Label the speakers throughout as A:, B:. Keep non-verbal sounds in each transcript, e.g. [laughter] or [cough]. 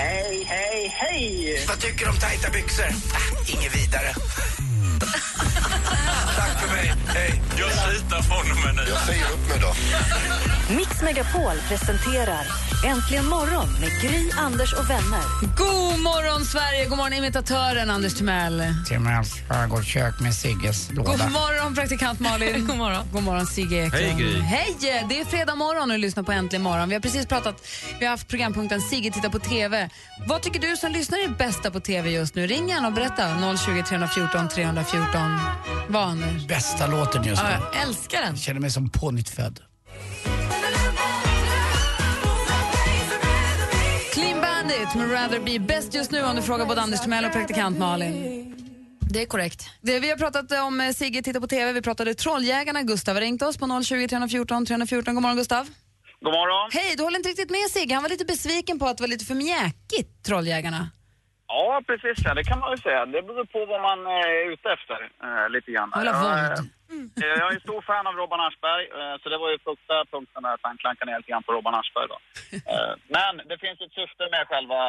A: Hej, hej, hej!
B: Vad tycker du om tajta byxor? Ah, inget [laughs] vidare. Tack för mig. Hej. Jag slutar från och med nu. Jag säger upp mig då.
C: Mix Megapol presenterar Äntligen morgon med Gry, Anders och vänner.
D: God morgon, Sverige! God morgon, imitatören Anders Timell.
E: Timmars skärgårdskök med Sigges
D: God
E: låda.
D: morgon, praktikant Malin. [laughs] God morgon, God morgon Sigge Eklund.
F: Hej, Gry.
D: Hej! Det är fredag morgon och du lyssnar på Äntligen morgon. Vi har precis pratat, vi har haft programpunkten Sigge tittar på TV. Vad tycker du som lyssnar är bästa på TV just nu? Ring gärna och berätta. 020 314 314. Vad, Anders?
E: Bästa låten just nu.
D: Ja, jag älskar den.
E: Jag känner mig som pånyttfödd.
D: Clean Bandit med Rather Be bäst just nu om du frågar både Anders Timell och praktikant Malin. Det är korrekt. vi har pratat om eh, Sigge tittar på TV, vi pratade Trolljägarna. Gustav har ringt oss på 020 314 314. God morgon Gustav.
A: God morgon.
D: Hej, du håller inte riktigt med Sigge. Han var lite besviken på att det var lite för mjäkigt, Trolljägarna.
A: Ja, precis. Ja, det kan man ju säga. Det beror på vad man eh, är ute efter eh, lite grann.
D: Alla
A: Jag, eh,
D: våld.
A: eh, jag är en stor fan av Robban Aschberg, eh, så det var ju första punkten där att han klankade ner lite grann på Robban Aschberg. Då. Eh, men det finns ett syfte med själva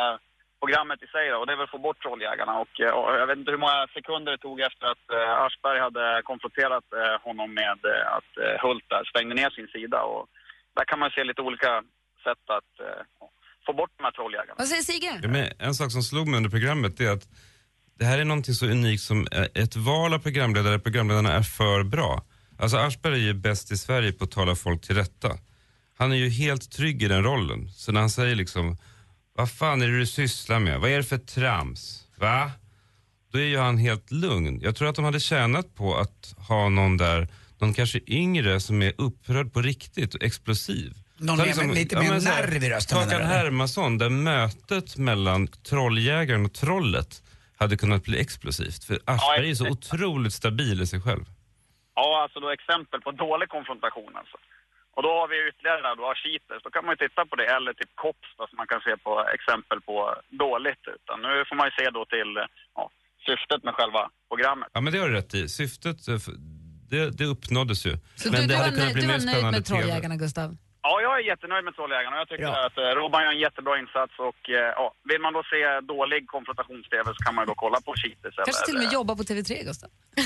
A: programmet i sig då, och det är väl att få bort trolljägarna. Och, eh, och jag vet inte hur många sekunder det tog efter att eh, Aschberg hade konfronterat eh, honom med eh, att eh, Hult där stängde ner sin sida. Och där kan man se lite olika sätt att eh, få bort de här trolljägarna.
D: Vad säger Sigge?
F: Ja, men en sak som slog mig under programmet är att det här är någonting så unikt som eh, ett val av programledare, programledarna är för bra. Alltså Aschberg är ju bäst i Sverige på att tala folk till rätta. Han är ju helt trygg i den rollen. Så när han säger liksom, vad fan är det du sysslar med? Vad är det för trams? Va? Då är ju han helt lugn. Jag tror att de hade tjänat på att ha någon där, någon kanske yngre som är upprörd på riktigt och explosiv.
E: Någon
F: Ta liksom-
E: med- lite mer
F: men så här,
E: nerv i rösten,
F: Kakan
E: menar du?
F: Hermansson, där mötet mellan trolljägaren och trollet hade kunnat bli explosivt. För Aschberg är så otroligt stabil i sig själv.
A: Ja, alltså då exempel på dålig konfrontation alltså. Och då har vi ytterligare där, då har cheaters, då kan man ju titta på det, eller typ kops då, som man kan se på exempel på dåligt. Utan nu får man ju se då till eh, ja, syftet med själva programmet.
F: Ja men det har du rätt i. Syftet, eh, f- det, det uppnåddes ju.
D: Så
F: men
D: du,
F: det
D: du, var,
F: hade kunnat
D: nöjd,
F: bli
D: du
F: mer
D: var nöjd
F: spännande
D: med
F: TV.
D: Trolljägarna, Gustav?
A: Ja, jag är jättenöjd med Trolljägarna och jag tycker
E: Ja.
A: att eh, Robban gör en jättebra insats och eh, ja, vill man då se dålig konfrontations-TV så kan man ju då kolla på cheaters.
D: Kanske
A: eller-
D: till och med jobba på TV3, Gustav.
A: Ja,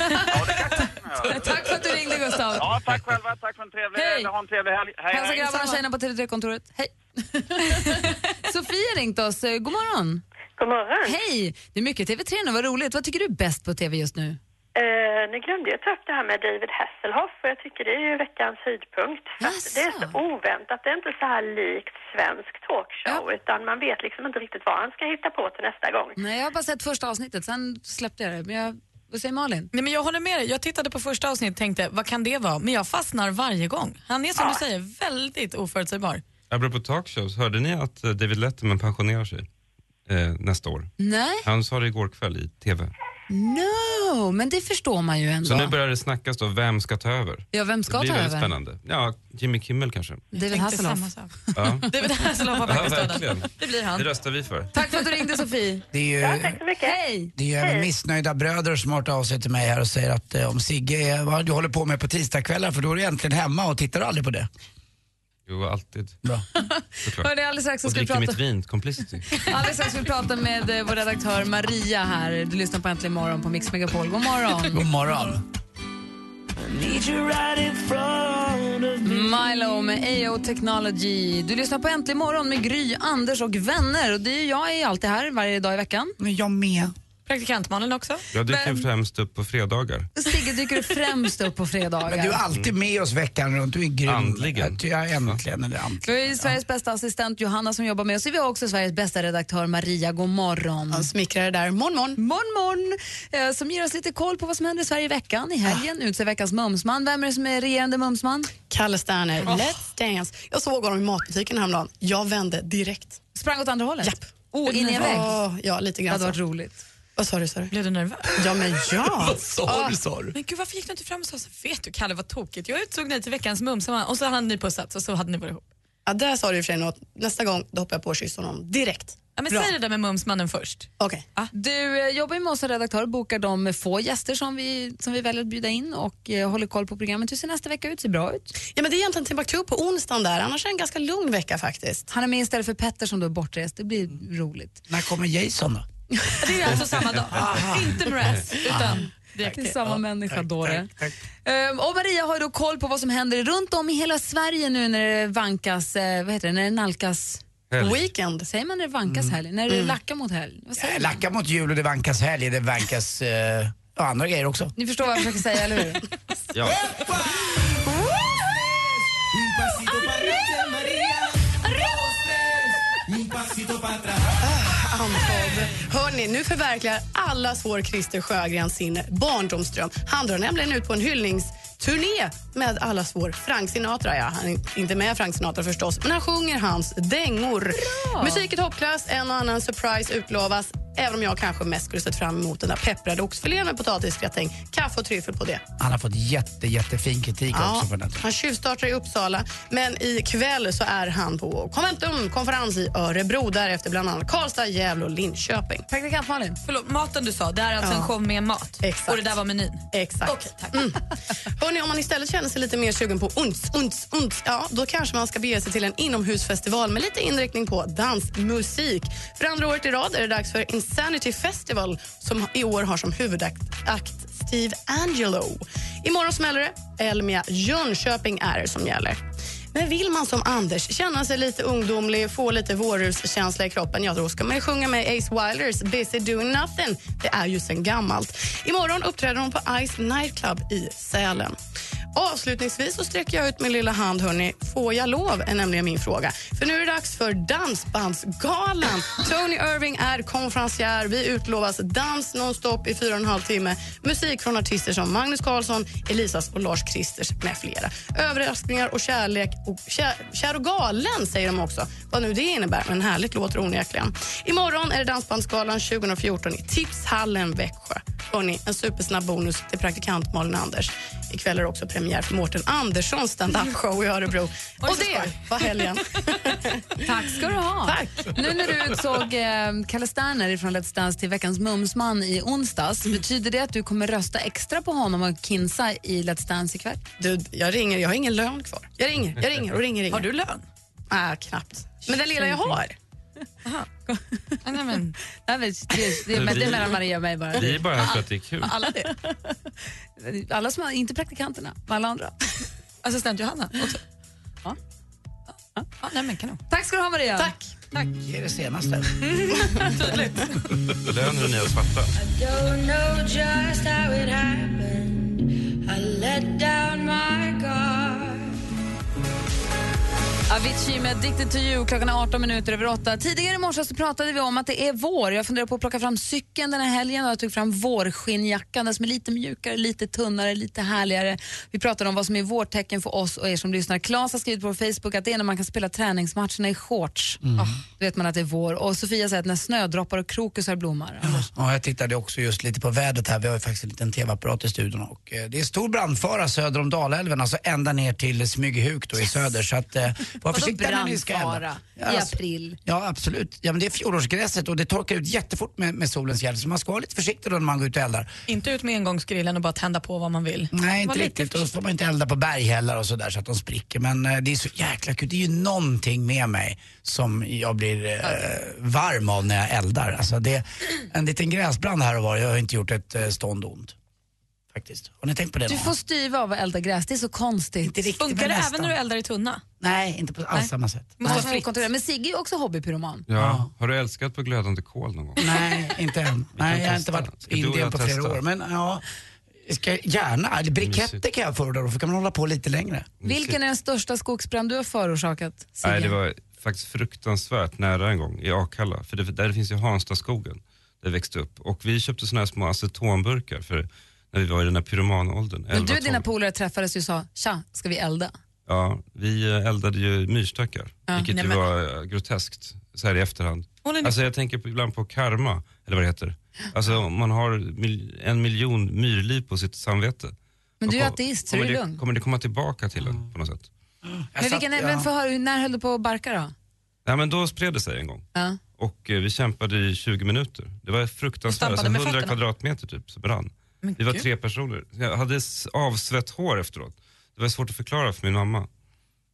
A: det kanske man gör.
D: [laughs] Tack för att du ringde, Gustav.
A: Ja, tack själva, tack för en trevlig,
D: Hej.
A: ha en trevlig helg. Hej,
D: Hälsa
A: hej.
D: grabbarna och tjejerna på TV3-kontoret. Hej! [laughs] Sofia har ringt oss. Eh, God morgon.
G: God morgon.
D: Hej! Det är mycket TV3 nu, vad roligt. Vad tycker du är bäst på TV just nu?
G: Eh, nu glömde jag ta upp det här med David Hasselhoff för jag tycker det är ju veckans höjdpunkt. För att
D: Jaså?
G: Det är så oväntat. Det är inte så här likt svensk talkshow utan man vet liksom inte riktigt vad han ska hitta på till nästa gång.
D: Nej, jag har bara sett första avsnittet, sen släppte jag det. Men jag, vad säger Malin?
H: Nej, men jag håller med dig. Jag tittade på första avsnittet och tänkte, vad kan det vara? Men jag fastnar varje gång. Han är som du säger väldigt oförutsägbar.
F: Apropå talkshows, hörde ni att eh, David Letterman pensionerar sig eh, nästa år?
D: Nej,
F: Han sa det igår kväll i TV.
D: no, men det förstår man ju
F: Så nu
D: ändå.
F: börjar det snackas då, vem ska ta över?
D: Ja, vem ska
F: det
D: ta
F: blir väldigt
D: över?
F: spännande. Ja, Jimmy Kimmel kanske.
D: David
H: Tänkte
D: Hasselhoff.
H: samma sak.
F: Ja,
D: [laughs]
H: Det, det här slår på
F: ja
H: Pakistan.
F: verkligen.
H: Det blir han.
F: Det röstar vi för.
D: Tack för att du ringde, Sofie.
E: Det är ju,
G: Ja, tack så mycket.
D: Hej!
E: det är ju även missnöjda bröder som har hört av sig till mig här och säger att eh, om Sigge är vad du håller på med på tisdagskvällar för då är du äntligen hemma och tittar aldrig på det.
F: Jo, alltid.
E: Bra.
F: Såklart.
D: Hörde alldeles strax så
F: Och
D: ska vi
F: dricker
D: prata,
F: mitt vin, typ. complicity.
D: alldeles strax ska vi prata med eh, vår redaktör Maria här. Du lyssnar på Äntligen morgon på Mix Megapol. God morgon.
E: God morgon.
D: Milo med AO Technology. Du lyssnar på Äntligen morgon med Gry, Anders och vänner. Och det är ju jag är alltid här varje dag i veckan.
E: Men jag med.
H: Praktikantmannen också.
F: Jag dyker
D: Men-
F: främst upp på fredagar.
D: Sigge dyker främst upp på fredagar.
E: Men du är alltid med oss veckan runt. Du är grym.
F: Andligen.
E: Ja, äntligen. Eller äntligen.
D: [laughs] Vi har ju Sveriges bästa assistent Johanna som jobbar med oss. Vi har också Sveriges bästa redaktör Maria. God morgon.
C: Alltså.
I: Ja, smickrare där. Morgon, morgon.
D: Morgon, morgon. Eh, som ger oss lite koll på vad som händer i Sverige i veckan. I helgen utser veckans mumsman. Vem är det som är regerande mumsman?
I: Kalle Sterner, Let's Dance. Jag såg honom i matbutiken häromdagen. Jag vände direkt.
D: Sprang åt andra hållet?
I: Japp.
D: Oh, in i en vägg. Alltså.
I: Åh, ja, lite
D: Det
I: grann
D: hade
I: så.
D: varit roligt.
I: Vad sa du? Sorry.
H: Blev du nervös?
I: Ja, men ja.
H: Ah. Men gud, varför gick du inte fram och sa så? Vet du Kalle, vad tokigt. Jag utsåg dig till veckans mumsa och så hade ni pussats och så hade ni varit ihop.
I: Ja, där sa du i och för sig något. Nästa gång då hoppar jag på och kysser honom direkt.
H: Ja, men
I: Bra.
H: säg det där med mumsmannen först.
I: Okej.
D: Du eh, jobbar ju med oss som redaktör, bokar de få gäster som vi, som vi väljer att bjuda in och eh, håller koll på programmet. Hur ser nästa vecka ut? Ser bra ut?
I: Ja, men det är egentligen Timbuktu på onsdagen där, annars är det en ganska lugn vecka faktiskt.
D: Han är med istället för Petter som då är bortrest. Det blir roligt.
E: När kommer Jason då?
D: Det är alltså
I: [laughs]
D: samma dag.
H: Inte Mraz, utan direkt
D: Det är samma människa, dåre.
E: Tack, tack.
D: Ehm, och Maria har ju då koll på vad som händer runt om i hela Sverige nu när det vankas, eh, vad heter det, när det nalkas
E: Helg.
D: weekend. Säger man när det vankas helg? När det
E: Mm.
D: lackar mot helg? Vad säger
E: Eh,
D: man?
E: Lacka mot jul och det vankas helg, det vankas eh, ja, andra grejer också.
D: Ni förstår vad jag försöker säga, eller hur?
E: Ja.
I: Anfad. Hörni, nu förverkligar alla svår Christer Sjögren sin barndomsdröm. Han drar nämligen ut på en hyllningsturné [laughs] med alla svår Frank Sinatra. Ja, han är inte med Frank Sinatra förstås, men han sjunger hans dängor. Musik i toppklass, en och annan surprise utlovas. Även om jag kanske mest skulle sett fram emot den där pepprade oxfilén med potatisgratäng, kaffe och tryffel på det.
E: Han har fått jätte, jättefin kritik också för den.
I: Han tjuvstartar i Uppsala, men ikväll så är han på Conventum konferens i Örebro. Därefter bland annat Karlstad, Gävle och Linköping.
D: Praktikant Malin.
H: Förlåt, maten du sa, det här är alltså
I: Ja.
H: en show med mat.
I: Exakt.
H: Och det där var menyn.
I: Exakt. Mm.
H: Okej, tack.
I: Hörrni, om man istället känner sig lite mer sugen på uns, uns, uns, ja, då kanske man ska bege sig till en inomhusfestival med lite inriktning på dansmusik. För andra året i rad är det dags för Insanity Festival som i år har som huvudakt akt Steve Angelo. Imorgon smäller det. Elmia Jönköping är det som gäller. Men vill man som Anders känna sig lite ungdomlig, få lite vårruskänsla i kroppen, ja då ska man ju sjunga med Ace Wilders Busy Doing Nothing. Det är ju sen gammalt. Imorgon uppträder hon på Ice Nightclub i Sälen. Avslutningsvis så sträcker jag ut min lilla hand, hörni. Får jag lov? är nämligen min fråga. För nu är det dags för Dansbandsgalan. Tony Irving är konferencier. Vi utlovas dans nonstop i fyra och en halv timme. Musik från artister som Magnus Carlsson, Elisas och Lars Kristers med flera. Överraskningar och kärlek. Och kär, kär och galen säger de också. Vad nu det innebär, men härligt låter det onekligen. Imorgon är det Dansbandsgalan 2014 i Tipshallen, Växjö. Hörrni, en supersnabb bonus till praktikant Malin Anders. Ikväll är det också premiär för Mårten Anderssons standup-show i Örebro. Och det var helgen.
D: [laughs] Tack ska du ha.
I: Tack.
D: Nu när du utsåg eh, Kalle Sterner från Let's Dance till veckans Mumsman i onsdags,
I: Mm.
D: betyder det att du kommer rösta extra på honom och Kinsa i Let's Dance ikväll?
I: Du, jag ringer. Jag har ingen lön kvar. Jag ringer, jag ringer och ringer. ringer.
H: Har du lön?
I: Ah, knappt. Men den lilla jag har.
H: Nej, men.
D: Nej, men, [laughs] det, det, det, det är mellan Maria och mig bara.
F: Vi är bara här för att det är kul.
D: Alla det. [laughs] Alla som har, inte praktikanterna, men alla andra.
H: [laughs] Assistent Johanna också.
D: Ja.
H: Ja. Ja, nej, men kanon.
D: Tack ska du ha Maria. Tack.
H: Tack.
E: Det är det senaste.
H: Tydligt.
F: Lön är det nya svarta.
J: Don't know just how it happened. I let down my guard.
D: Avicii med Addicted to you. Klockan är 18 minuter över 8. Tidigare i morse så pratade vi om att det är vår. Jag funderar på att plocka fram cykeln den här helgen och jag tog fram vårskinnjackan, den som är lite mjukare, lite tunnare, lite härligare. Vi pratade om vad som är vårtecken för oss och er som lyssnar. Claes har skrivit på Facebook att det är när man kan spela träningsmatcherna i shorts.
E: Mm.
D: Ah, Då vet man att det är vår. Och Sofia säger att när snödroppar och krokusar blommar.
E: Ja, jag tittade också just lite på vädret här. Vi har ju faktiskt en liten tv-apparat i studion. Och, eh, det är stor brandfara söder om Dalälven, alltså ända ner till Smygehuk då i söder. Så att, eh, var
D: Vadå
E: försiktiga när ni ska elda. alltså,
D: brandfara? I april.
E: Ja, absolut. Ja, men det är fjolårsgräset och det torkar ut jättefort med, med solens hjälp. Så man ska vara lite försiktig då när man går ut och eldar.
H: Inte ut med engångsgrillen och bara tända på vad man vill.
E: Nej,
H: Var
E: inte
H: lite
E: riktigt. Och så får man inte elda på berg heller och sådär så att de spricker. Men eh, det är så jäkla kul. Det är ju någonting med mig som jag blir eh, varm av när jag eldar. Alltså det är en liten gräsbrand här och var. Jag har inte gjort ett eh, stånd ont. Faktiskt. Har ni tänkt på det
D: Du
E: någon
D: får
E: gång?
D: styva av att elda gräs, det är så konstigt. Inte riktigt,
H: Funkar det även när du eldar i tunna?
E: Nej, inte på alls samma sätt.
D: Måste få kontrollera. Men Sigge är också
H: Mm,
D: hobbypyroman.
F: Ja. Har du älskat på glödande kol någon gång?
E: Nej, inte än. Nej, jag har
F: testa.
E: inte varit
F: Ska
E: i
F: du och
E: Indien
F: jag
E: på flera
F: testa?
E: år. Men ja, ska, gärna. Eller briketter
F: Mysigt.
E: kan jag föredra då, för kan man hålla på lite längre.
D: Vilken är den största skogsbrand du har förorsakat? Sigge?
F: Nej, det var faktiskt fruktansvärt nära en gång i Akalla, för det, där finns ju Hanstaskogen, där jag växte upp. Och vi köpte såna här små acetonburkar för när vi var i den här pyromanåldern.
D: Men du
F: 11-12.
D: och dina polare träffades ju och sa tja, ska vi elda?
F: Ja, vi eh, eldade ju myrstackar,
D: Ja,
F: vilket
D: nej
F: ju
D: men-
F: var eh, groteskt så här i efterhand.
D: Håller ni-
F: Alltså jag tänker på, ibland på karma, eller vad det heter. Alltså om man har mil- en miljon myrliv på sitt samvete.
D: Men du är
F: då kom-
D: ateist, så
F: kommer
D: det är lugnt.
F: Kommer det komma tillbaka till en på något sätt?
D: Men vilken,
F: satt-
D: men
F: ja.
D: för, hör- när höll du på att barka då?
F: Nej men då spred det sig en gång.
D: Ja.
F: Och eh, vi kämpade i 20 minuter. Det var fruktansvärt.
D: Du stampade
F: Alltså,
D: med
F: 100
D: fötterna.
F: kvadratmeter typ så brann. vi var
D: gud.
F: tre personer. Jag hade s- avsvett hår efteråt. Det var svårt att förklara för min mamma.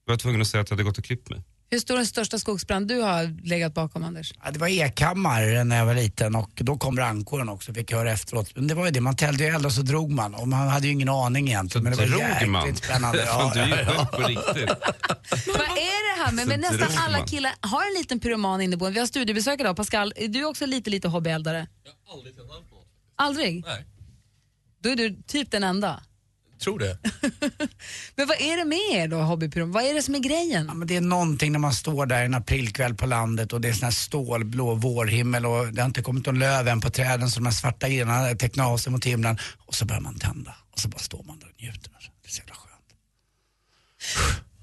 F: Jag var tvungen att säga att jag hade gått och klippt mig.
D: Hur stor är den största skogsbrand du har legat bakom, Anders?
E: Ja, det var Ekhammar när jag var liten och då kom brandkåren också, fick jag höra efteråt. Men det var ju det, man tällde ju eld och så drog man och man hade ju ingen aning egentligen. Men det var
F: Drog
E: jäkligt
F: man? [laughs]
E: spännande.
F: Fan, du är ju
E: Ja, ja,
F: sjuk på riktigt.
E: [laughs]
D: [laughs] Vad är det här med, men
F: Så
D: nästan
F: drog
D: alla
F: man.
D: killar har en liten pyroman inneboende. Vi har studiebesök idag. Pascal, är du också lite, lite hobbyeldare? Jag har aldrig tändat på något. Aldrig?
K: Nej.
D: Då är du typ den enda.
K: Tror det.
D: [laughs] Men vad är det med er då, hobbypyrom? Vad är det som är grejen?
E: men det är någonting när man står där en aprilkväll på landet och det är sån här stålblå vårhimmel och det har inte kommit någon löv än på träden så de här svarta grenarna tecknar av sig mot himlen och så börjar man tända och så bara står man där och njuter. Det är så jävla skönt.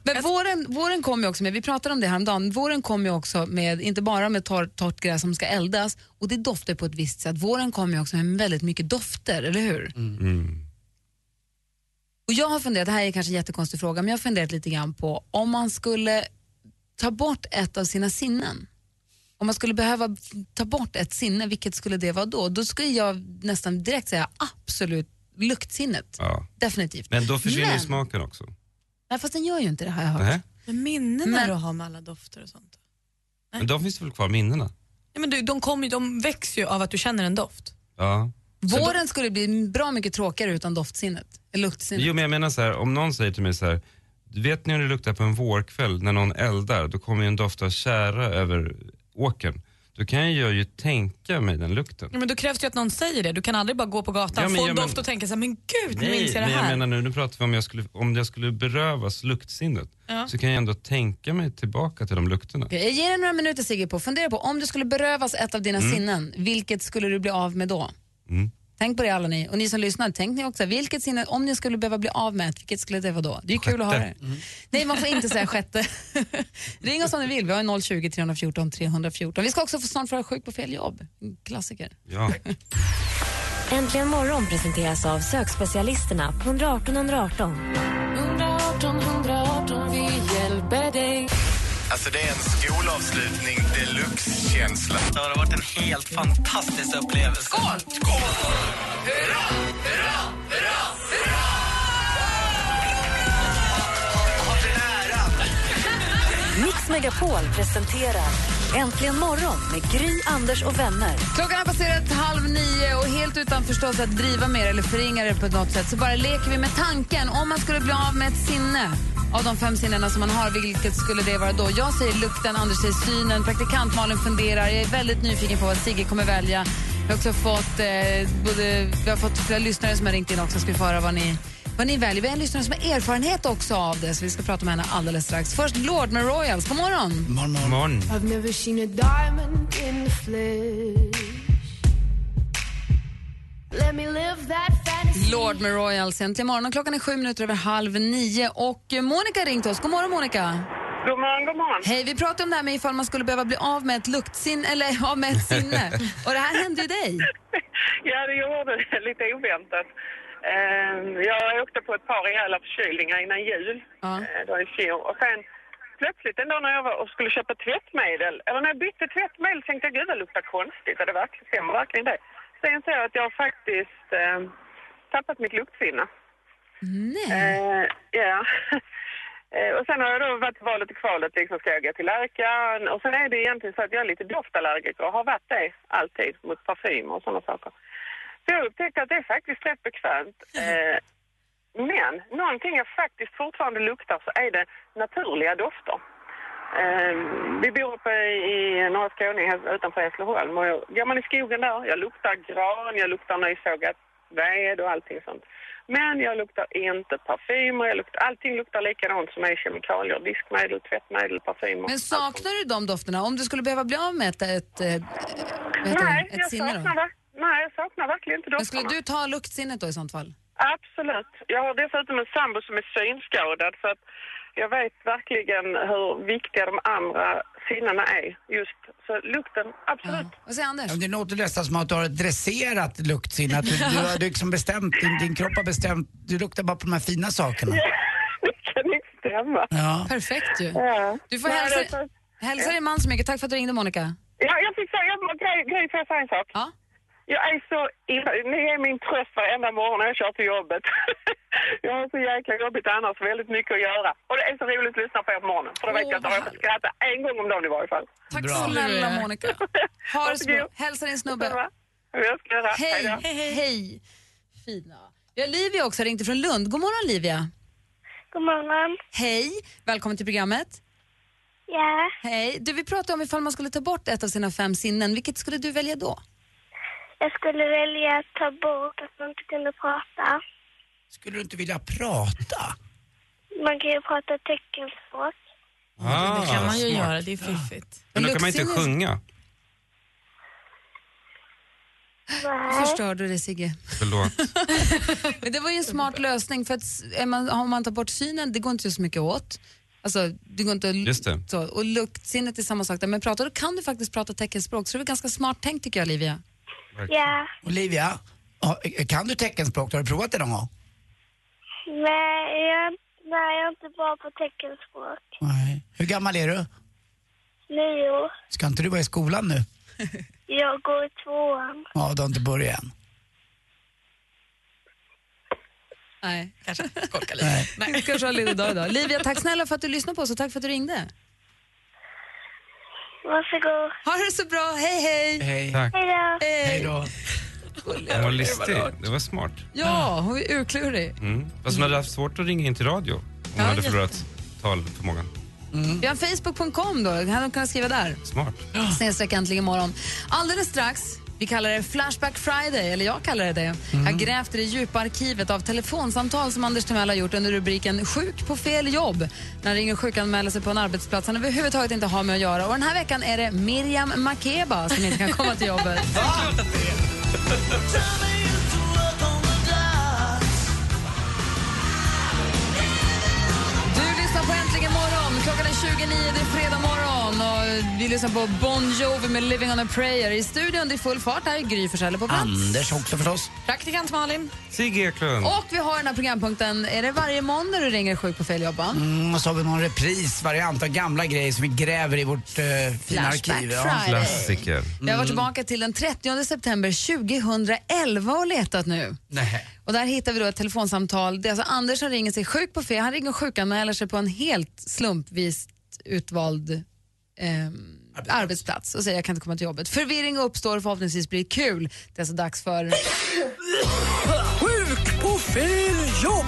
D: Men våren, våren kommer ju också med, vi pratade om det häromdagen, våren kommer ju också med, inte bara med torr, torrt gräs som ska eldas och det doftar på ett visst sätt. Våren kommer ju också med väldigt mycket dofter, eller hur?
F: Mm.
D: Och jag har funderat, det här är kanske en jättekonstig fråga, men jag har funderat lite grann på om man skulle ta bort ett av sina sinnen. Om man skulle behöva f- ta bort ett sinne, vilket skulle det vara då? Då skulle jag nästan direkt säga absolut luktsinnet.
F: Ja.
D: Definitivt.
F: Men då försvinner ju
D: Men-
F: smaken också.
D: Nej, fast den gör ju inte det här, jag har hört.
F: Nej.
H: Men minnena
D: Men-
H: du har med alla dofter och sånt.
F: Men de finns väl kvar minnena?
H: Nej, men du, de, kommer ju- de växer ju av att du känner en doft.
F: Ja.
D: Våren skulle bli bra mycket tråkigare utan doftsinnet, eller luktsinnet.
F: Jo men jag menar så här, om någon säger till mig så här, vet ni hur det luktar på en vårkväll när någon eldar, då kommer ju en doft av tjära över åkern. Då kan jag ju tänka mig den lukten.
H: Ja, men då krävs det ju att någon säger det. Du kan aldrig bara gå på gatan,
F: Ja, men-
H: få
F: ja,
H: en
F: men-
H: doft och tänka så här, men gud, nu minns jag det
F: men jag
H: här.
F: menar nu, nu pratar vi om jag skulle, om jag skulle berövas luktsinnet,
D: Ja.
F: så kan jag ändå tänka mig tillbaka till de lukterna.
D: Okej, Jag ger dig några minuter Sigge på att fundera på om du skulle berövas ett av dina
F: Mm.
D: sinnen, vilket skulle du bli av med då?
F: Mm.
D: Tänk på det alla ni. Och ni som lyssnar, tänk ni också, vilket sinne, om ni skulle behöva bli av med ett, vilket skulle det vara då? Det är ju kul att höra. det.
F: Mm.
D: Nej, man får inte säga sjätte. [laughs] Ring oss om ni vill, vi har 020 314 314. Vi ska också få snart få höra sjuk på fel jobb. En Klassiker.
F: Ja.
C: Äntligen morgon presenteras av sökspecialisterna på 118 118.
J: 118 118, vi hjälper dig.
L: Alltså det är en skolavslutning deluxe-känsla.
M: Det har varit en helt fantastisk upplevelse. Skål! Skål!
C: Mix Megapol presenterar Äntligen morgon med Gry, Anders och vänner.
D: Klockan har passerat halv nio och helt utan förstås att driva med det eller förringa det på något sätt så bara leker vi med tanken om man skulle bli av med ett sinne av de fem sinnena som man har, vilket skulle det vara då? Jag säger lukten, Anders säger synen, praktikant Malin funderar. Jag är väldigt nyfiken på vad Sigge kommer välja. Vi har också fått, eh, både, vi har fått flera lyssnare som har ringt in också. Ska vi få höra vad ni, vad ni väljer? Vi har en lyssnare som har erfarenhet också av det, så vi ska prata med henne alldeles strax. Först Lord med Royals. God morgon!
E: Morgon,
F: morgon.
J: I've never seen a diamond in the flesh. Let me live that fantasy.
D: Lord med Royals äntligen morgon. Klockan är sju minuter över halv nio och eh, Monica har ringt oss. God morgon Monica!
N: God morgon, god morgon.
D: Hej, vi pratade om det här med ifall man skulle behöva bli av med ett luktsinne eller [laughs] av med ett sinne. och det här hände ju dig.
N: [laughs] Ja, det gjorde det lite oväntat. Eh, Jag åkte på ett par rejäla förkylningar innan jul eh, då i fjol. Och sen plötsligt en dag när jag var och skulle köpa tättmedel, eller när jag bytte tättmedel tänkte jag gud det luktar konstigt. Och det verkligen, stämmer verkligen det. Sen ser jag att jag faktiskt eh, tappat mitt luktsinne. Eh, ja. [laughs] Eh, och sen har jag då varit i valet och kvalet, liksom ska jag gå till läkaren? Och sen är det egentligen så att jag är lite doftallergiker och har varit det alltid mot parfymer och sådana saker. Så jag upptäckte att det är faktiskt rätt bekvämt. Eh, men någonting jag faktiskt fortfarande luktar så är det naturliga dofter. Eh, vi bor uppe i norra Skåne här utanför Hässleholm och jag- går man i skogen där, jag luktar gran, jag luktar nysågat ved och allting sånt. Men jag luktar inte parfymer, jag luktar, allting luktar likadant som är kemikalier, diskmedel, tvättmedel, parfymer.
D: Men saknar du de dofterna? Om du skulle behöva bli av med ett, ett, eh, vad heter
N: Nej,
D: det? ett
N: jag
D: sinne
N: saknar,
D: då?
N: va- nej, jag saknar verkligen inte
D: Men
N: dofterna.
D: skulle du ta luktsinnet då i sånt fall?
N: Absolut. Jag har dessutom en sambo som är synskadad så att jag vet verkligen hur viktiga de andra sinnena är. Just så lukten, absolut.
D: Vad säger Anders?
E: Ja, Det låter nästan som att du har ett dresserat luktsinne. Att du, [laughs] du har liksom bestämt, din, din kropp har bestämt, du luktar bara på de här fina sakerna.
N: [laughs] kan inte stämma.
E: Ja.
D: Perfekt ju.
N: Ja.
D: Du får
N: Nej,
D: hälsa,
N: det-
D: hälsa din man så mycket. Tack för att du ringde, Monica.
N: Ja, jag fick säga en grej, grej får jag säga en sak?
D: Ja.
N: Jag är så illa, ni är min tröst varenda morgon när jag kör till jobbet. [laughs] jag har så jäkla jobbigt annars, väldigt mycket att göra. Och det är så roligt att lyssna på er på morgonen. För det vet jag att jag får skratta en gång om dagen i varje fall.
D: Tack snälla Monica. Ha det så bra. Hälsa din snubbe.
N: Jag ska göra.
D: Hej,
N: Hej då.
D: hej, hej. Fina. Vi har Livia också, ringde från Lund. God morgon Livia.
K: God morgon.
D: Hej, välkommen till programmet.
K: Ja,
D: Hej. Du, vi pratade om ifall man skulle ta bort ett av sina fem sinnen. Vilket skulle du välja då?
K: jag skulle välja att ta bort att man inte kunde prata.
E: Skulle du inte vilja prata?
K: Man kan ju prata teckenspråk.
F: Ah,
H: det kan man ju
F: smart.
H: göra, det är fiffigt.
F: Men då kan man inte
D: Luxinus-
F: sjunga.
D: Då förstörde du det Sigge.
H: [laughs]
F: Förlåt.
D: Men det var ju en smart lösning för att s- är man, om man tar bort synen, det går inte så mycket åt. Alltså, det går inte att, l-
F: Just det.
D: Så, och luktsinnet är samma sak där. Men pratar, då kan du faktiskt prata teckenspråk. Så det var ganska smart tänkt tycker jag Olivia.
K: Ja,
E: Olivia, ha- kan du teckenspråk? Har du provat det någon gång?
K: nej jag, nej, jag är inte bra på teckenspråk.
E: Nej. Hur gammal är du?
K: Nio.
E: Ska inte du vara i skolan nu?
K: Jag går i tvåan.
E: Ja, du har inte börjat än.
D: Nej. Kanske skolka lite. Nej. Kanske ha en ledig dag idag. Livia, tack snälla för att du lyssnade på oss och tack för att du ringde.
K: Varsågod.
D: Ha det så bra, hej hej!
E: Hej.
F: Tack.
K: Hej då.
D: Hej
E: då.
F: Den var listig. Det var smart.
D: Ja, hon är urklurig.
F: Mm. Fast hon hade haft svårt att ringa in till radio om hon hade förlorat talförmågan.
D: Vi har Facebook.com då, kan kan skriva där.
F: Smart.
D: Snedstreck äntligen imorgon. Alldeles strax, vi kallar det Flashback Friday, eller jag kallar det det. Jag har grävt i det djupa arkivet av telefonsamtal som Anders Timell har gjort under rubriken Sjuk på fel jobb. När han ringer och sjukanmäler sig på en arbetsplats han överhuvudtaget inte har med att göra. Och den här veckan är det Miriam Makeba som inte kan komma till jobbet. Du lyssnar på Äntligen morgon. Klockan är 29, det är fredag morgon. Och vi lyssnar på Bon Jovi med Living on a prayer. I studion, det är full fart. Här är Gry Forssell på plats.
E: Anders Mm. också förstås.
D: Praktikant Malin.
F: Sigge Eklund.
D: Och vi har den här programpunkten. Är det varje måndag du ringer sjuk på fel jobb? va?
E: Mm, och så har vi någon reprisvariant av gamla grejer som vi gräver i vårt eh, fina
D: Flashback
E: arkiv.
D: Friday.
F: Klassiker.
D: Jag har varit
E: Mm.
D: tillbaka till den 30 september 2011 och letat nu.
E: Nej.
D: Och där hittar vi då ett telefonsamtal. Det är alltså Anders som ringer sig sjuk på fel. Han ringer och sjukanmäler sig på en helt slumpvis utvald ehm, arbetsplats och säger jag kan inte komma till jobbet. Förvirring uppstår och förhoppningsvis blir det kul. Det är alltså dags för...
O: Sjuk på fel jobb!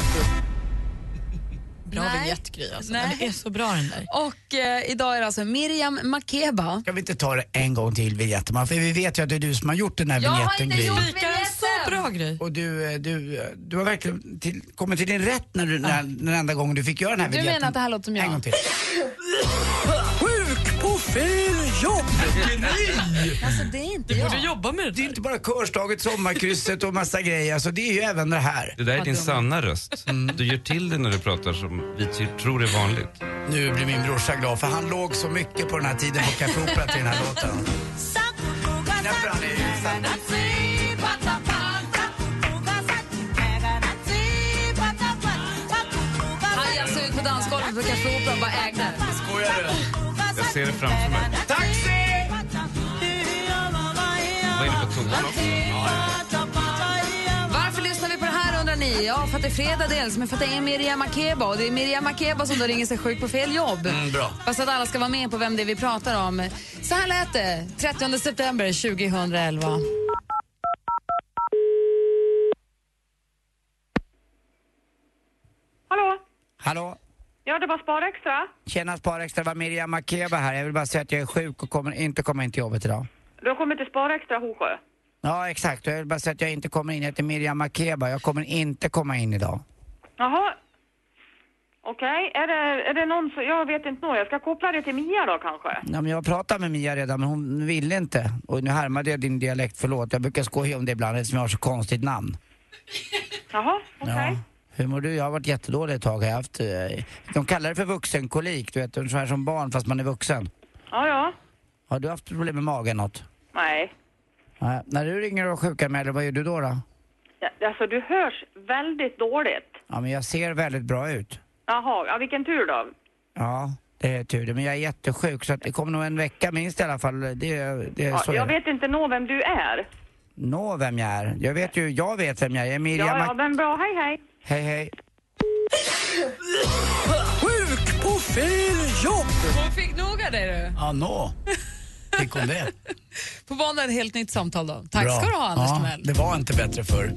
H: Bra
D: Nej.
H: vignett Gry alltså.
D: Nej.
H: Den är så bra den där.
D: Och eh, idag är det alltså Miriam Makeba.
E: Kan vi inte ta det en gång till vignetten? För vi vet ju att det är du som har gjort den här
D: Jag har
E: vignetten.
D: inte gjort
E: Gry.
H: Så bra Gry.
E: Och du, eh, du, eh, du har verkligen till, kommit till din rätt när du, när, den enda gången du fick göra den här
D: Du
E: vignetten.
D: menar att det här låter som jag?
E: En gång till.
O: Sjuk på fel jobb!
D: Alltså det är inte jag.
H: jobba med det
E: Det är inte bara Körslaget, Sommarkrysset och massa grejer. Alltså, det är ju även det här.
F: Det där är din
E: Vad dum. Mm.
F: sanna röst. Du gör till det när du pratar som vi ty- tror är vanligt.
E: Nu blir min brorsa glad för han låg så mycket på den här tiden på Café Opera till den här låten.
D: Han jag såg ut på dansgolvet på Café Opera och bara ägde.
E: Skojar du?
F: Jag ser det framför mig.
E: Taxi!
F: Jag var inne på toan också.
D: Varför lyssnar vi på det här undrar ni? Ja, för att det är fredag dels, men för att det är Miriam Makeba och det är Miriam Makeba som då ringer sig sjuk på fel jobb.
E: Mm, bra.
D: Fast att alla ska vara med på vem det är vi pratar om. Så här lät det 30 september 2011.
N: Hallå?
E: Hallå?
N: Ja, det var Spar Extra.
E: Tjena Sparextra, det var Miriam Makeba här. Jag vill bara säga att jag är sjuk och kommer inte komma in till jobbet idag.
N: Du har kommit till Spar Extra Hosjö.
E: Ja, exakt. Och Jag vill bara säga att jag inte kommer in. Jag heter Miriam Makeba. Jag kommer inte komma in idag.
N: Jaha. Okej, är, det, är det någon som... Jag vet inte nog. Jag ska koppla det till Mia då kanske.
E: Ja, men jag pratade med Mia redan, men hon ville inte. Och nu härmade jag din dialekt, förlåt. Jag brukar skoja om det ibland eftersom jag har så konstigt namn.
N: Jaha, okej.
E: Ja. Hur mår du? Jag har varit jättedålig ett tag. Jag har haft, eh, de kallar det för vuxenkolik, du vet. Ungefär som barn fast man är vuxen.
N: Ja. Ja, ja.
E: Har du haft problem med magen något?
N: Nej.
E: Nej. När du ringer och sjukanmäler, vad gör du då? då?
N: Ja, Alltså, du hörs väldigt dåligt.
E: Ja, men jag ser väldigt bra ut.
N: Jaha, ja, vilken tur då.
E: Ja, det är tur det. Men jag är jättesjuk så att det kommer nog en vecka minst i alla fall. Det, det är
N: Ja,
E: Eh, så
N: jag
E: är det.
N: vet inte nå vem du är.
E: Nå, vem jag är. Jag vet ju, jag vet vem jag är. Miriam
N: Ja, ja,
E: Mac-
N: men bra. Hej, hej.
E: Hej, hej.
O: Sjuk på fel jobb!
D: Hon fick nog av dig du.
E: Ja, nå. Fick hon det?
D: På måndag ett helt nytt samtal då. Tack
E: Bra.
D: ska du ha Anders
E: ja,
D: Timell.
E: Det var inte bättre förr.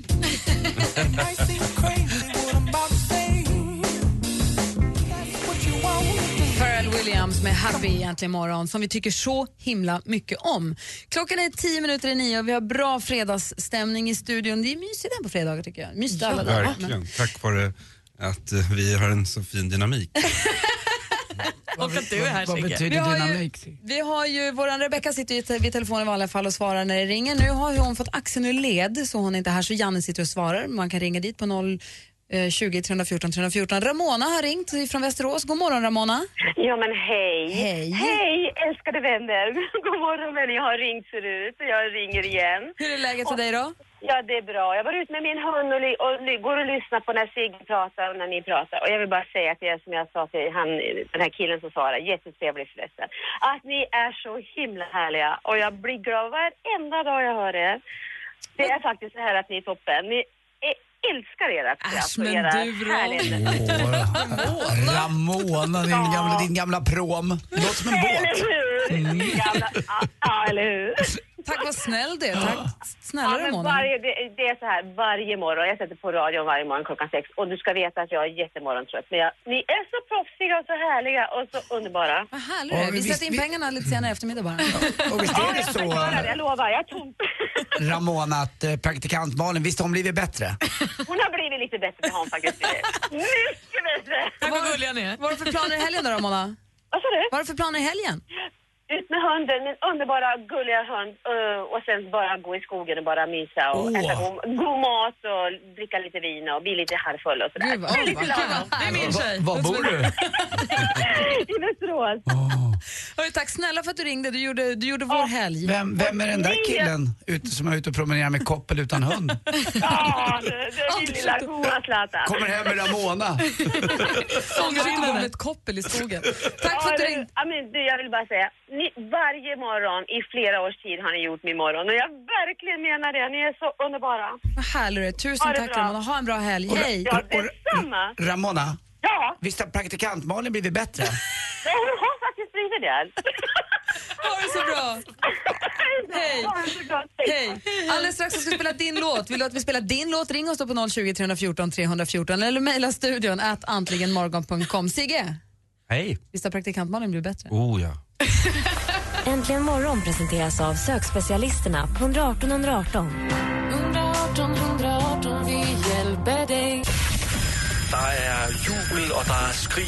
D: Pharrell Williams med Happy egentligen imorgon som vi tycker så himla mycket om. Klockan är tio minuter i nio och vi har bra fredagsstämning i studion. Det är mysigt här på fredagar tycker jag. Mysigt alla dagar.
F: Verkligen. Tack vare att eh, vi har en så fin dynamik.
D: Och att
E: du är här, vad Sigge. betyder dynamik,
D: Ju, vi har ju, våran Rebecca sitter ju te- vid telefonen i vanliga fall och svarar när det ringer. Nu har ju hon fått axeln ur led så hon är inte här så Janne sitter och svarar. Man kan ringa dit på 0 eh, 20 314 314. Ramona har ringt från Västerås. God morgon Ramona.
P: Ja men hej.
D: Hej.
P: Hej älskade vänner. [laughs] God morgon vänner. Jag har ringt förut och jag ringer igen.
D: Hur är läget för dig då?
P: Ja det är bra. Jag var ute med min hund och, ly- och ly- går och lyssnar på när Sigge pratar och när ni pratar. Och jag vill bara säga att det är som jag sa till han, den här killen som svarar, jättetrevlig förresten. Att ni är så himla härliga och jag blir glad varenda dag jag hör er. Det är faktiskt så här att ni är toppen. Ni är- älskar era skratt och era härligheter.
E: Ramona, din gamla, din gamla prom. Det låter som en båt.
P: Eller hur? Gamla- Ja, Ja, eller hur?
D: Tack vad snäll du är. Tack snälla
P: Ja, men
D: Ramona.
P: varje, det, det är så här varje morgon. Jag sätter på radion varje morgon klockan sex och du ska veta att jag är jättemorgontrött. Men jag, ni är så proffsiga och så härliga och så underbara.
D: Vad härlig du är. Vi sätter in pengarna lite senare i eftermiddag bara.
E: Och visst är det
P: Jag ska göra det,
E: så,
P: jag lovar. Jag tror, [laughs]
E: Ramona, att eh, praktikant Malin, visst har hon blivit bättre?
P: hon har blivit lite bättre på hon faktiskt. Mycket bättre!
D: Tack vad gulliga ni är. Vad har du för planer i helgen då Ramona?
P: Vad sa du?
D: Vad har du för planer i helgen?
P: Ut med hunden, min underbara gulliga hund eh, och sen bara gå i skogen och bara mysa och
E: Åh.
P: äta god, god mat och dricka lite vin och bli lite halvfull och sådär.
D: Gud, vad-
P: Det är
D: åh,
P: lite
D: vad kul.
P: lagom.
D: Det är min tjej.
E: Var bor du?
P: [laughs] I Västerås.
D: Hörru, tack snälla för att du ringde. Du gjorde, du gjorde vår helg.
E: Vem, vem är den där killen ut, som är ute och promenerar med koppel utan hund?
P: Ja, det är min lilla goa Zlatan.
E: Kommer hem med Ramona.
D: Ångrar inte du med ett koppel
P: [laughs]
D: i skogen? Tack för
P: Ja,
D: att du
P: men-
D: ringde.
P: ja, men du, jag vill bara säga, ni, varje morgon i flera års tid har ni gjort min morgon och jag verkligen menar det. Ni är så underbara.
D: Vad härlig du är. Tusen
P: Ha det
D: tack
P: bra.
D: Ramona. Ha en bra helg. Hej.
P: Ja, detsamma.
E: Ramona,
P: Ja,
E: visst har praktikant Malin blivit bättre?
P: jag har faktiskt blivit det.
D: [laughs] Ha det så bra. Hej.
P: Ha det så bra.
D: Hej. Alldeles strax så ska vi spela din låt. Vill du att vi spelar din låt, ring oss då på 020 314 314 eller mejla studion at antligenmorgon.com. Sigge,
F: Hej.
D: visst har praktikantmannen blivit bättre?
F: Oh ja.
C: Äntligen morgon presenteras av sökspecialisterna på 118 118.
J: 118 118, vi hjälper dig.
L: Der er jubel, og der er skrig.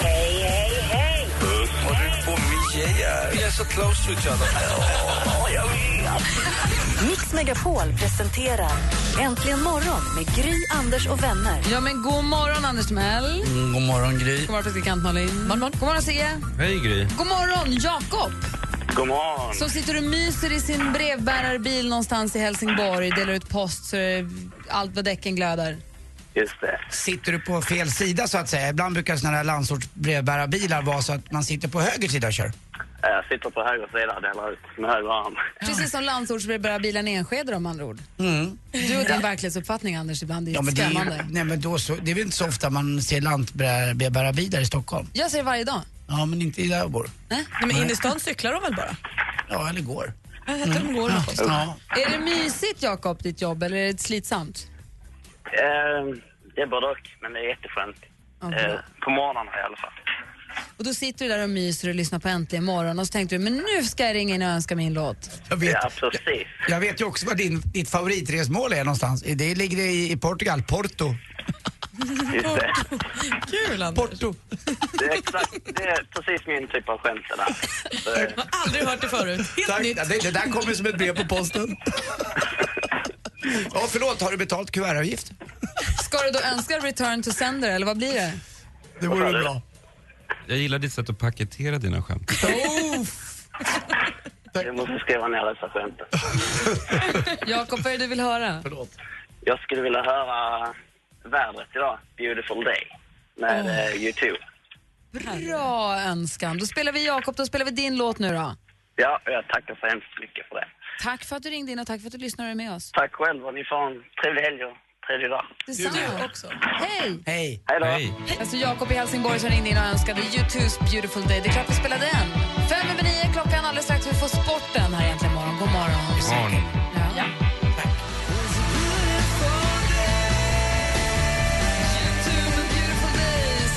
J: Hej, hej, hej.
L: Og det på yeah. Vi er så close to each other. Åh, jeg
C: Mix Megapol presenterar Äntligen morgon med Gry, Anders och vänner.
D: Ja, men god morgon Anders Timell.
E: Mm, god morgon Gry.
D: God morgon praktikant Malin. God morgon, god morgon Sigge.
F: Hej Gry.
D: God morgon Jakob.
B: God morgon.
D: Som sitter och myser i sin brevbärarbil någonstans i Helsingborg, delar ut post så det är allt vad däcken glöder.
B: Just det.
E: Sitter du på fel sida så att säga? Ibland brukar sådana här landsortsbrevbärarbilar vara så att man sitter på höger sida och kör.
B: Jag sitter på höger sida och delar ut med höger arm.
D: Precis som landsortsbrevbärarbilen i Enskede om andra ord.
E: Mm.
D: Du och din verklighetsuppfattning Anders, ibland är
E: Ja,
D: det
E: men det, är, ju-
D: skrämmande.
E: nej, men då så, det är väl inte så ofta man ser lantbrevbärarbilar i Stockholm?
D: Jag ser det varje dag.
E: Ja, men inte där jag bor.
D: Nej,
H: men in i stan cyklar de väl bara?
E: Ja, eller går.
H: Jag vet inte om de går.
E: Ja. Ja.
D: Mm. Är det mysigt Jakob, ditt jobb, eller är det slitsamt?
B: Eh, det är både och, men det är jätteskönt. Eh, på morgnarna i alla fall.
D: Och då sitter du där och myser och lyssnar på Äntligen morgon och så tänkte du, men nu ska jag ringa in och önska min låt.
E: Jag vet,
B: Ja, precis.
E: jag vet ju också var din, ditt favoritresmål är någonstans. Det ligger i, i Portugal, Porto.
B: Just det.
H: Kul Anders.
E: Porto.
B: Det är, exakt, det är precis min typ av skämt det där. Så, eh,
H: Jag har aldrig hört det förut. Helt
E: Tack.
H: nytt.
E: Ja, Det, det där kommer som ett brev på [laughs] posten. Ja, förlåt, har du betalt kuvertavgift?
D: Ska du då önska return to sender eller vad blir det?
E: Det vore väl bra.
F: Jag gillar ditt sätt att paketera dina skämt.
B: Jag måste skriva ner dessa skämt.
D: Jakob, vad är det du vill höra?
B: Jag skulle vilja höra vädret idag, Beautiful Day, med
D: Åh.
B: oh. U2.
D: Bra önskan. Då spelar vi Jakob, då spelar vi din låt nu då.
B: Ja, jag tackar så hemskt mycket för det.
D: Tack för att du ringde in och tack för att du lyssnade med oss.
B: Tack själv och ni får en trevlig helg och trevlig dag.
D: Detsamma också. Hej!
E: Hej!
B: Hej då!
D: Alltså Jakob i Helsingborg som ringde in och önskade U2's Beautiful Day. Det är klart vi spelar den. Fem över nio klockan alldeles strax. Vi får sporten här egentligen imorgon. God morgon. Ja.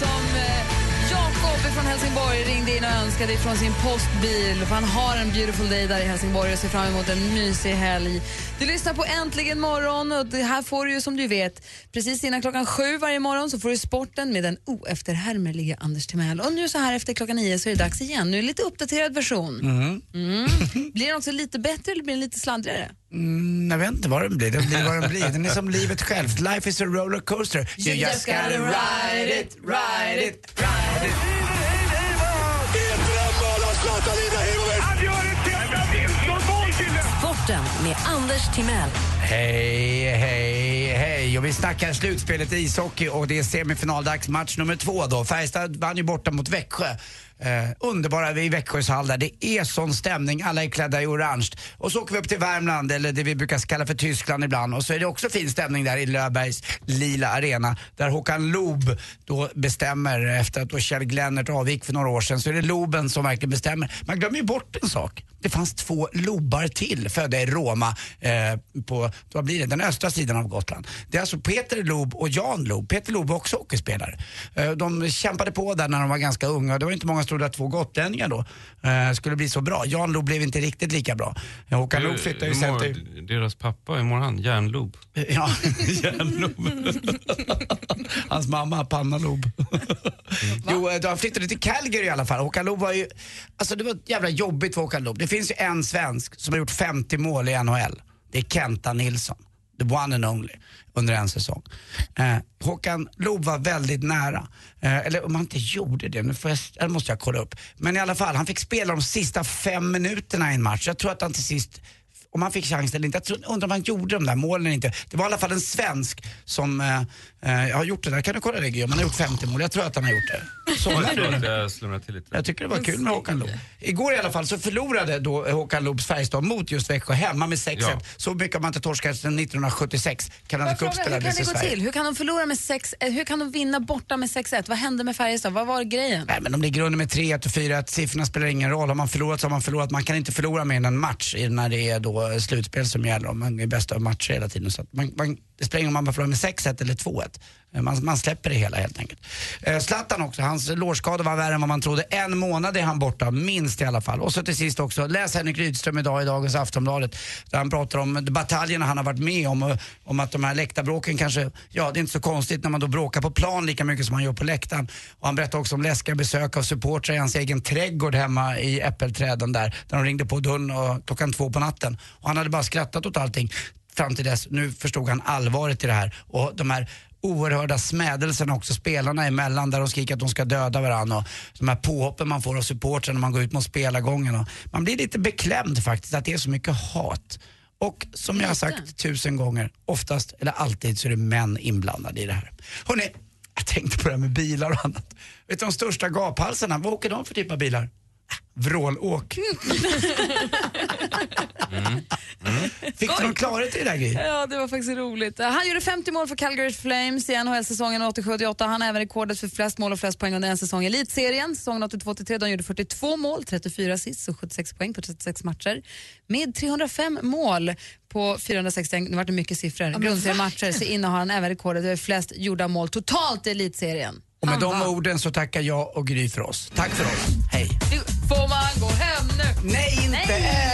D: som eh, Jakob från Helsingborg ringde in och önskade från sin postbil. För han har en beautiful day där i Helsingborg och ser fram emot en mysig helg. Du lyssnar på Äntligen morgon och det här får du ju som du vet precis innan klockan sju varje morgon så får du sporten med den oefterhärmelige Anders Timell. Och nu så här efter klockan nio så är det dags igen. Nu är det lite uppdaterad version.
E: Mm.
D: Mm. Blir den också lite bättre eller blir den lite sladdrigare?
E: Mm, jag vet inte vad den blir. Den blir vad den blir. Den är som livet självt. Life is a rollercoaster. You just gotta ride it, ride it.
C: Sporten med Anders Timell.
E: Hej, hej, hej. Och vi snackar slutspelet i ishockey och det är semifinaldags match nummer två då. Färjestad vann ju borta mot Växjö. Eh, underbara vi i Växjös hall där. Det är sån stämning. Alla är klädda i orange. Och så åker vi upp till Värmland, eller det vi brukar kalla för Tyskland ibland. Och så är det också fin stämning där i Löfbergs lila arena. Där Håkan Loob då bestämmer efter att då Kjell Glennert avgick för några år sedan. Så är det Loben som verkligen bestämmer. Man glömmer ju bort en sak. Det fanns två Lobar till födda i Roma eh, på, vad blir det, den östra sidan av Gotland. Det är alltså Peter Loob och Jan Loob. Peter Loob var också hockeyspelare. Eh, de kämpade på där när de var ganska unga. Det var inte många som trodde att två gotlänningar då eh, skulle bli så bra. Jan Loob blev inte riktigt lika bra. Eh, Håkan Loob flyttade ju
F: Hur
E: sen
F: mår
E: till...
F: Deras pappa, hur mår han? [laughs] Järnlob.
E: [laughs] Ja, järnlob. [laughs] Hans mamma, Panna Loob. [laughs] jo, eh, han flyttade till Calgary i alla fall. Håkan Loob var ju... Alltså det var jävla jobbigt för Håkan Loob. Det finns ju en svensk som har gjort 50 mål i NHL. Det är Kenta Nilsson. The one and only under en säsong. Eh, Håkan Loob var väldigt nära. Eh, eller om han inte gjorde det, nu får jag, det måste jag kolla upp. Men i alla fall, han fick spela de sista fem minuterna i en match. Jag tror att han till sist om han fick chansen eller inte. Jag tror, undrar om han gjorde de där målen eller inte. Det var i alla fall en svensk som eh, eh, har gjort det där. Kan du kolla det Guillaume? Han har gjort 50 mål. Jag tror att han har gjort det. Så,
F: Jag tror att jag slumrade till lite.
E: jag tycker det var kul med Håkan Loob. Igår i alla fall så förlorade då eh, Håkan Loobs Färjestad mot just Växjö hemma med 6-1.
F: Ja.
E: Så mycket har man inte torskat sedan 1976. Canada
D: Jag
E: Cup
D: frågar, hur kan
E: spelades i
D: det gå
E: Sverige.
D: till? Hur kan de förlora med 6 eh, Hur kan de vinna borta med 6-1? Vad hände med Färjestad? Vad var grejen?
E: Nej, men de ligger under med 3-1 och 4-1. Siffrorna spelar ingen roll. Har man förlorat så har man förlorat. Man kan inte förlora mer än en match i- när det är då eh, slutspel som gäller. Om Man är bäst av matcher hela tiden. Så att man, man, det spelar ingen roll om man förlorar med 6-1 eller 2-1. Eh, Man, man släpper det hela helt enkelt. Eh, Zlatan också, hans lårskada var värre än vad man trodde. En månad är han borta, minst i alla fall. Och så till sist också, läs Henrik Rydström idag i dagens Aftonbladet. Där han pratar om bataljerna han har varit med om. och- Om att de här läktarbråken kanske, ja det är inte så konstigt när man då bråkar på plan lika mycket som man gör på läktaren. Och han berättar också om läskiga besök av supportrar i hans egen trädgård hemma i äppelträden där. Där de ringde på dörren och klockan två på natten. Och han hade bara skrattat åt allting fram till dess. Nu förstod han allvaret i det här. Och de här oerhörda smädelserna också spelarna emellan där de skriker att de ska döda varandra och de här påhoppen man får av supportrarna när man går ut mot spelargången. Och man blir lite beklämd faktiskt att det är så mycket hat. Och som jag har sagt tusen gånger, oftast eller alltid så är det män inblandade i det här. Hörrni, jag tänkte på det här med bilar och annat. Vet du de största gaphalsarna, vad åker de för typ av bilar? Ah, Vrålåk. Fick du någon klarhet i det där Gry?
D: Ja, det var faktiskt roligt. Eh, Han gjorde 50 mål för Calgary Flames i NHL-säsongen 87-88. Han har även rekordet för flest mål och flest poäng under en säsong i elitserien. Säsongen 82-83 då han gjorde 42 mål, 34 assist och 76 poäng på 36 matcher. Med 305 mål på 461, nu vart det mycket siffror, grundseriematcher så innehar han även rekordet över flest gjorda mål totalt i elitserien.
E: Och med de orden så tackar jag och Gry för oss. Tack för oss. Hej.
D: Nu Får man gå hem nu?
E: Nej, inte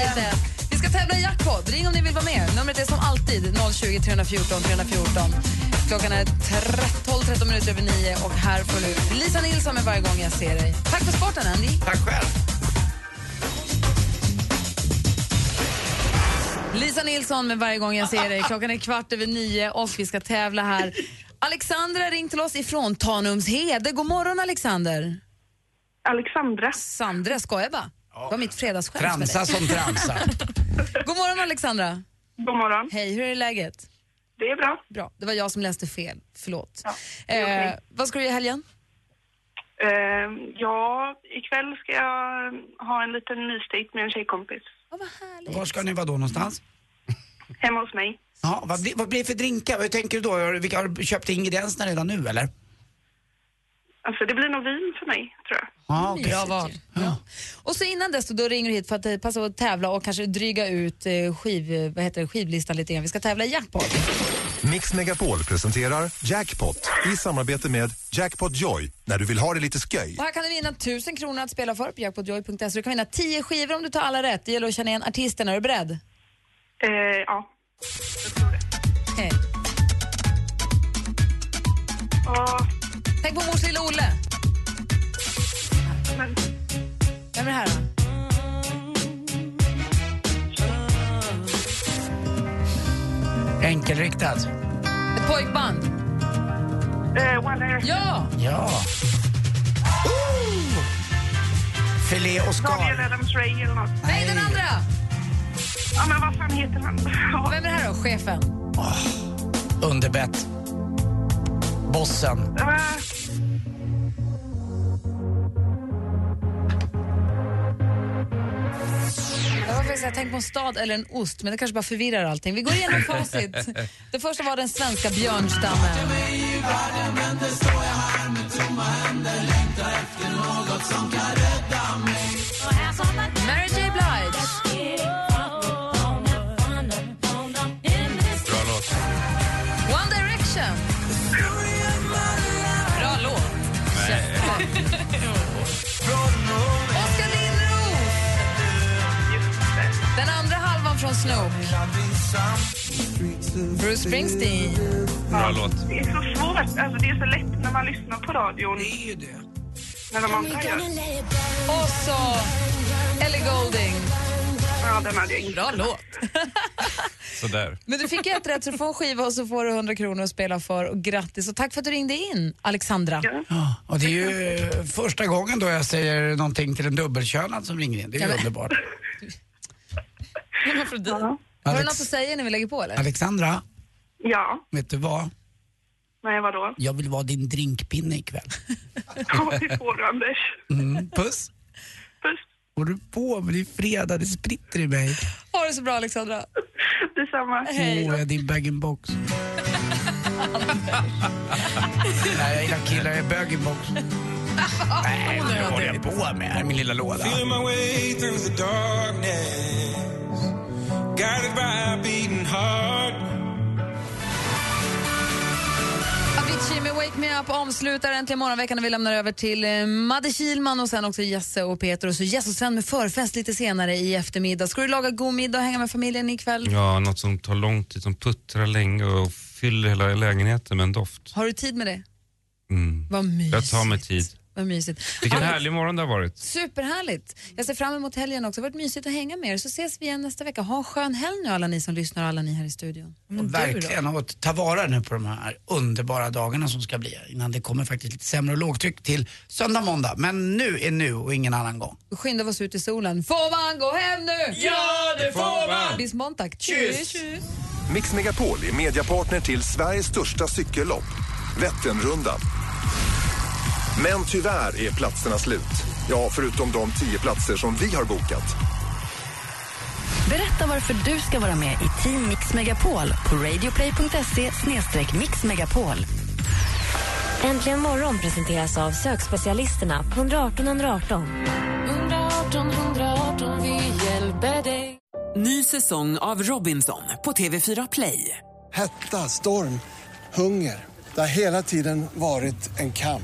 D: inte. Vi ska tävla i jackpot. Ring om ni vill vara med. Numret är som alltid 020 314 314. Klockan är 12, 13 minuter över 9 och här får du Lisa Nilsson med varje gång jag ser dig. Tack för sporten, Andy.
E: Tack själv.
D: Lisa Nilsson med varje gång jag ser dig. Klockan är kvart över 9 och vi ska tävla här. Alexandra ring till oss ifrån Tanumshede. God morgon, Alexander.
N: Alexandra.
D: Sandra, skojar bara. Det var mitt fredagsskämt med
E: Transa som
D: dig.
E: transa.
D: [laughs]
E: [laughs]
D: God morgon Alexandra.
N: God morgon.
D: Hej, hur är läget?
N: Det är bra.
D: Bra, det var jag som läste fel. Förlåt.
N: det är
D: eh,
N: okej.
D: vad ska du göra i helgen?
N: Eh, ja, ikväll ska jag ha en liten mysdejt med en tjejkompis.
E: Var ska ni vara då någonstans?
N: Hemma hos mig.
E: Ja, vad, blir, vad blir det för drinkar? Vad tänker du då? Har, du- vilka, har du köpt ingredienserna redan nu eller?
N: Alltså det blir nog vin för mig, tror jag.
E: Ja, okej.
D: Bra val. Och så innan dess då, då ringer du hit för att eh, passa på att tävla och kanske dryga ut eh, skiv, eh, vad heter det, skivlistan lite grann. Vi ska tävla i jackpot.
Q: Mix Megapol presenterar Jackpot i samarbete med Jackpot Joy när du vill ha det lite sköj.
D: Och här kan du vinna 1000 kronor att spela för på jackpotjoy.se. Du kan vinna 10 skivor om du tar alla rätt. Det gäller att känna igen artisten. Är du beredd?
N: Eh, ja.
D: Hej.
N: Ja.
D: Tänk på mors lilla Olle. Vem är det här då?
E: Enkelriktat.
D: Ett pojkband?
N: eh,
D: ja!
E: Ja. Oh! Filé och skal.
N: Daniel Adams Ray eller något.
D: Nej, den andra!
N: Ja, men vad fan heter han? [laughs]
D: Vem är det här då? Chefen?
E: Underbett. Bossen.
N: Eh,
D: Jag var faktiskt, jag tänkte på en stad eller en ost, men det kanske bara förvirrar allting. Vi går igenom facit. Det första var den svenska björnstammen. Mary J Blige.
F: Bra låt.
D: One Direction. Bra låt.
F: Nej. [laughs]
D: Oskar Lindros. Den andra halvan från Snook. Bruce Springsteen.
F: Bra låt.
N: Det är så svårt. Alltså, det är så lätt när man lyssnar på radion. Det är ju det. Men de andra gör...
D: Och så Ellie Goulding.
N: Ja, den hade jag inte.
D: Bra låt. [laughs]
F: Sådär.
D: Men du fick ett rätt så du får en skiva och så får du 100 kronor att spela för. Och grattis och tack för att du ringde in, Alexandra.
E: Och det är ju eh, första gången då jag säger någonting till en dubbelkönad som ringer in. Det är ju underbart.
D: Har du
E: Alex-
D: något att säga när vi lägger på eller?
E: Alexandra,
N: Ja,
E: vet du vad?
N: nej vadå? [laughs]
E: Jag vill vara din drinkpinne ikväll.
N: Ja, det får du, Anders.
E: Mm, puss. Vad håller du på med? Det är fredag, det spritter i mig.
D: Ha det så bra Alexandra.
N: Detsamma.
E: Åh, jag är din bag-in-box. Nej, jag gillar killar, jag är bag-in-box. Nej, vad håller jag på med? Här är min lilla låda.
L: Feeling my way through the darkness Guided by a beating heart
D: Avicii med Wake Me Up avslutar äntligen morgonveckan när vi lämnar över till eh, Madde Kilman och sen också Jesse och Peter och så Jesse och Sven med förfest lite senare i eftermiddag. Ska du laga god middag och hänga med familjen ikväll?
F: Ja, något som tar lång tid, som puttrar länge och fyller hela lägenheten med en doft.
D: Har du tid med det?
F: Mm.
D: Vad mysigt.
F: Jag tar mig tid.
D: Vad mysigt.
F: Vilken
D: Ja,
F: härlig morgon det har varit.
D: Superhärligt. Jag ser fram emot helgen också. Det har varit mysigt att hänga med er. Så ses vi igen nästa vecka. Ha en skön helg nu alla ni som lyssnar och alla ni här i studion.
E: Och Mm, verkligen och ta vara nu på de här underbara dagarna som ska bli här, innan det kommer faktiskt lite sämre och lågtryck till söndag, måndag. Men nu är nu och ingen annan gång.
D: Skynda oss ut i solen. Får man gå hem nu?
E: Ja, det får man.
D: Bis Montag.
Q: Tschüss.
D: Tschüss.
Q: Mix Megapol är mediapartner till Sveriges största cykellopp, Vätternrundan. Men tyvärr är platserna slut. Ja, förutom de tio platser som vi har bokat.
C: Berätta varför du ska vara med i Team Mix Megapol på radioplay.se mixmegapol.
R: Äntligen morgon presenteras av sökspecialisterna på 118 118.
J: 118 118, vi hjälper dig.
O: Ny säsong av Robinson på TV4 Play.
S: Hetta, storm, hunger. Det har hela tiden varit en kamp.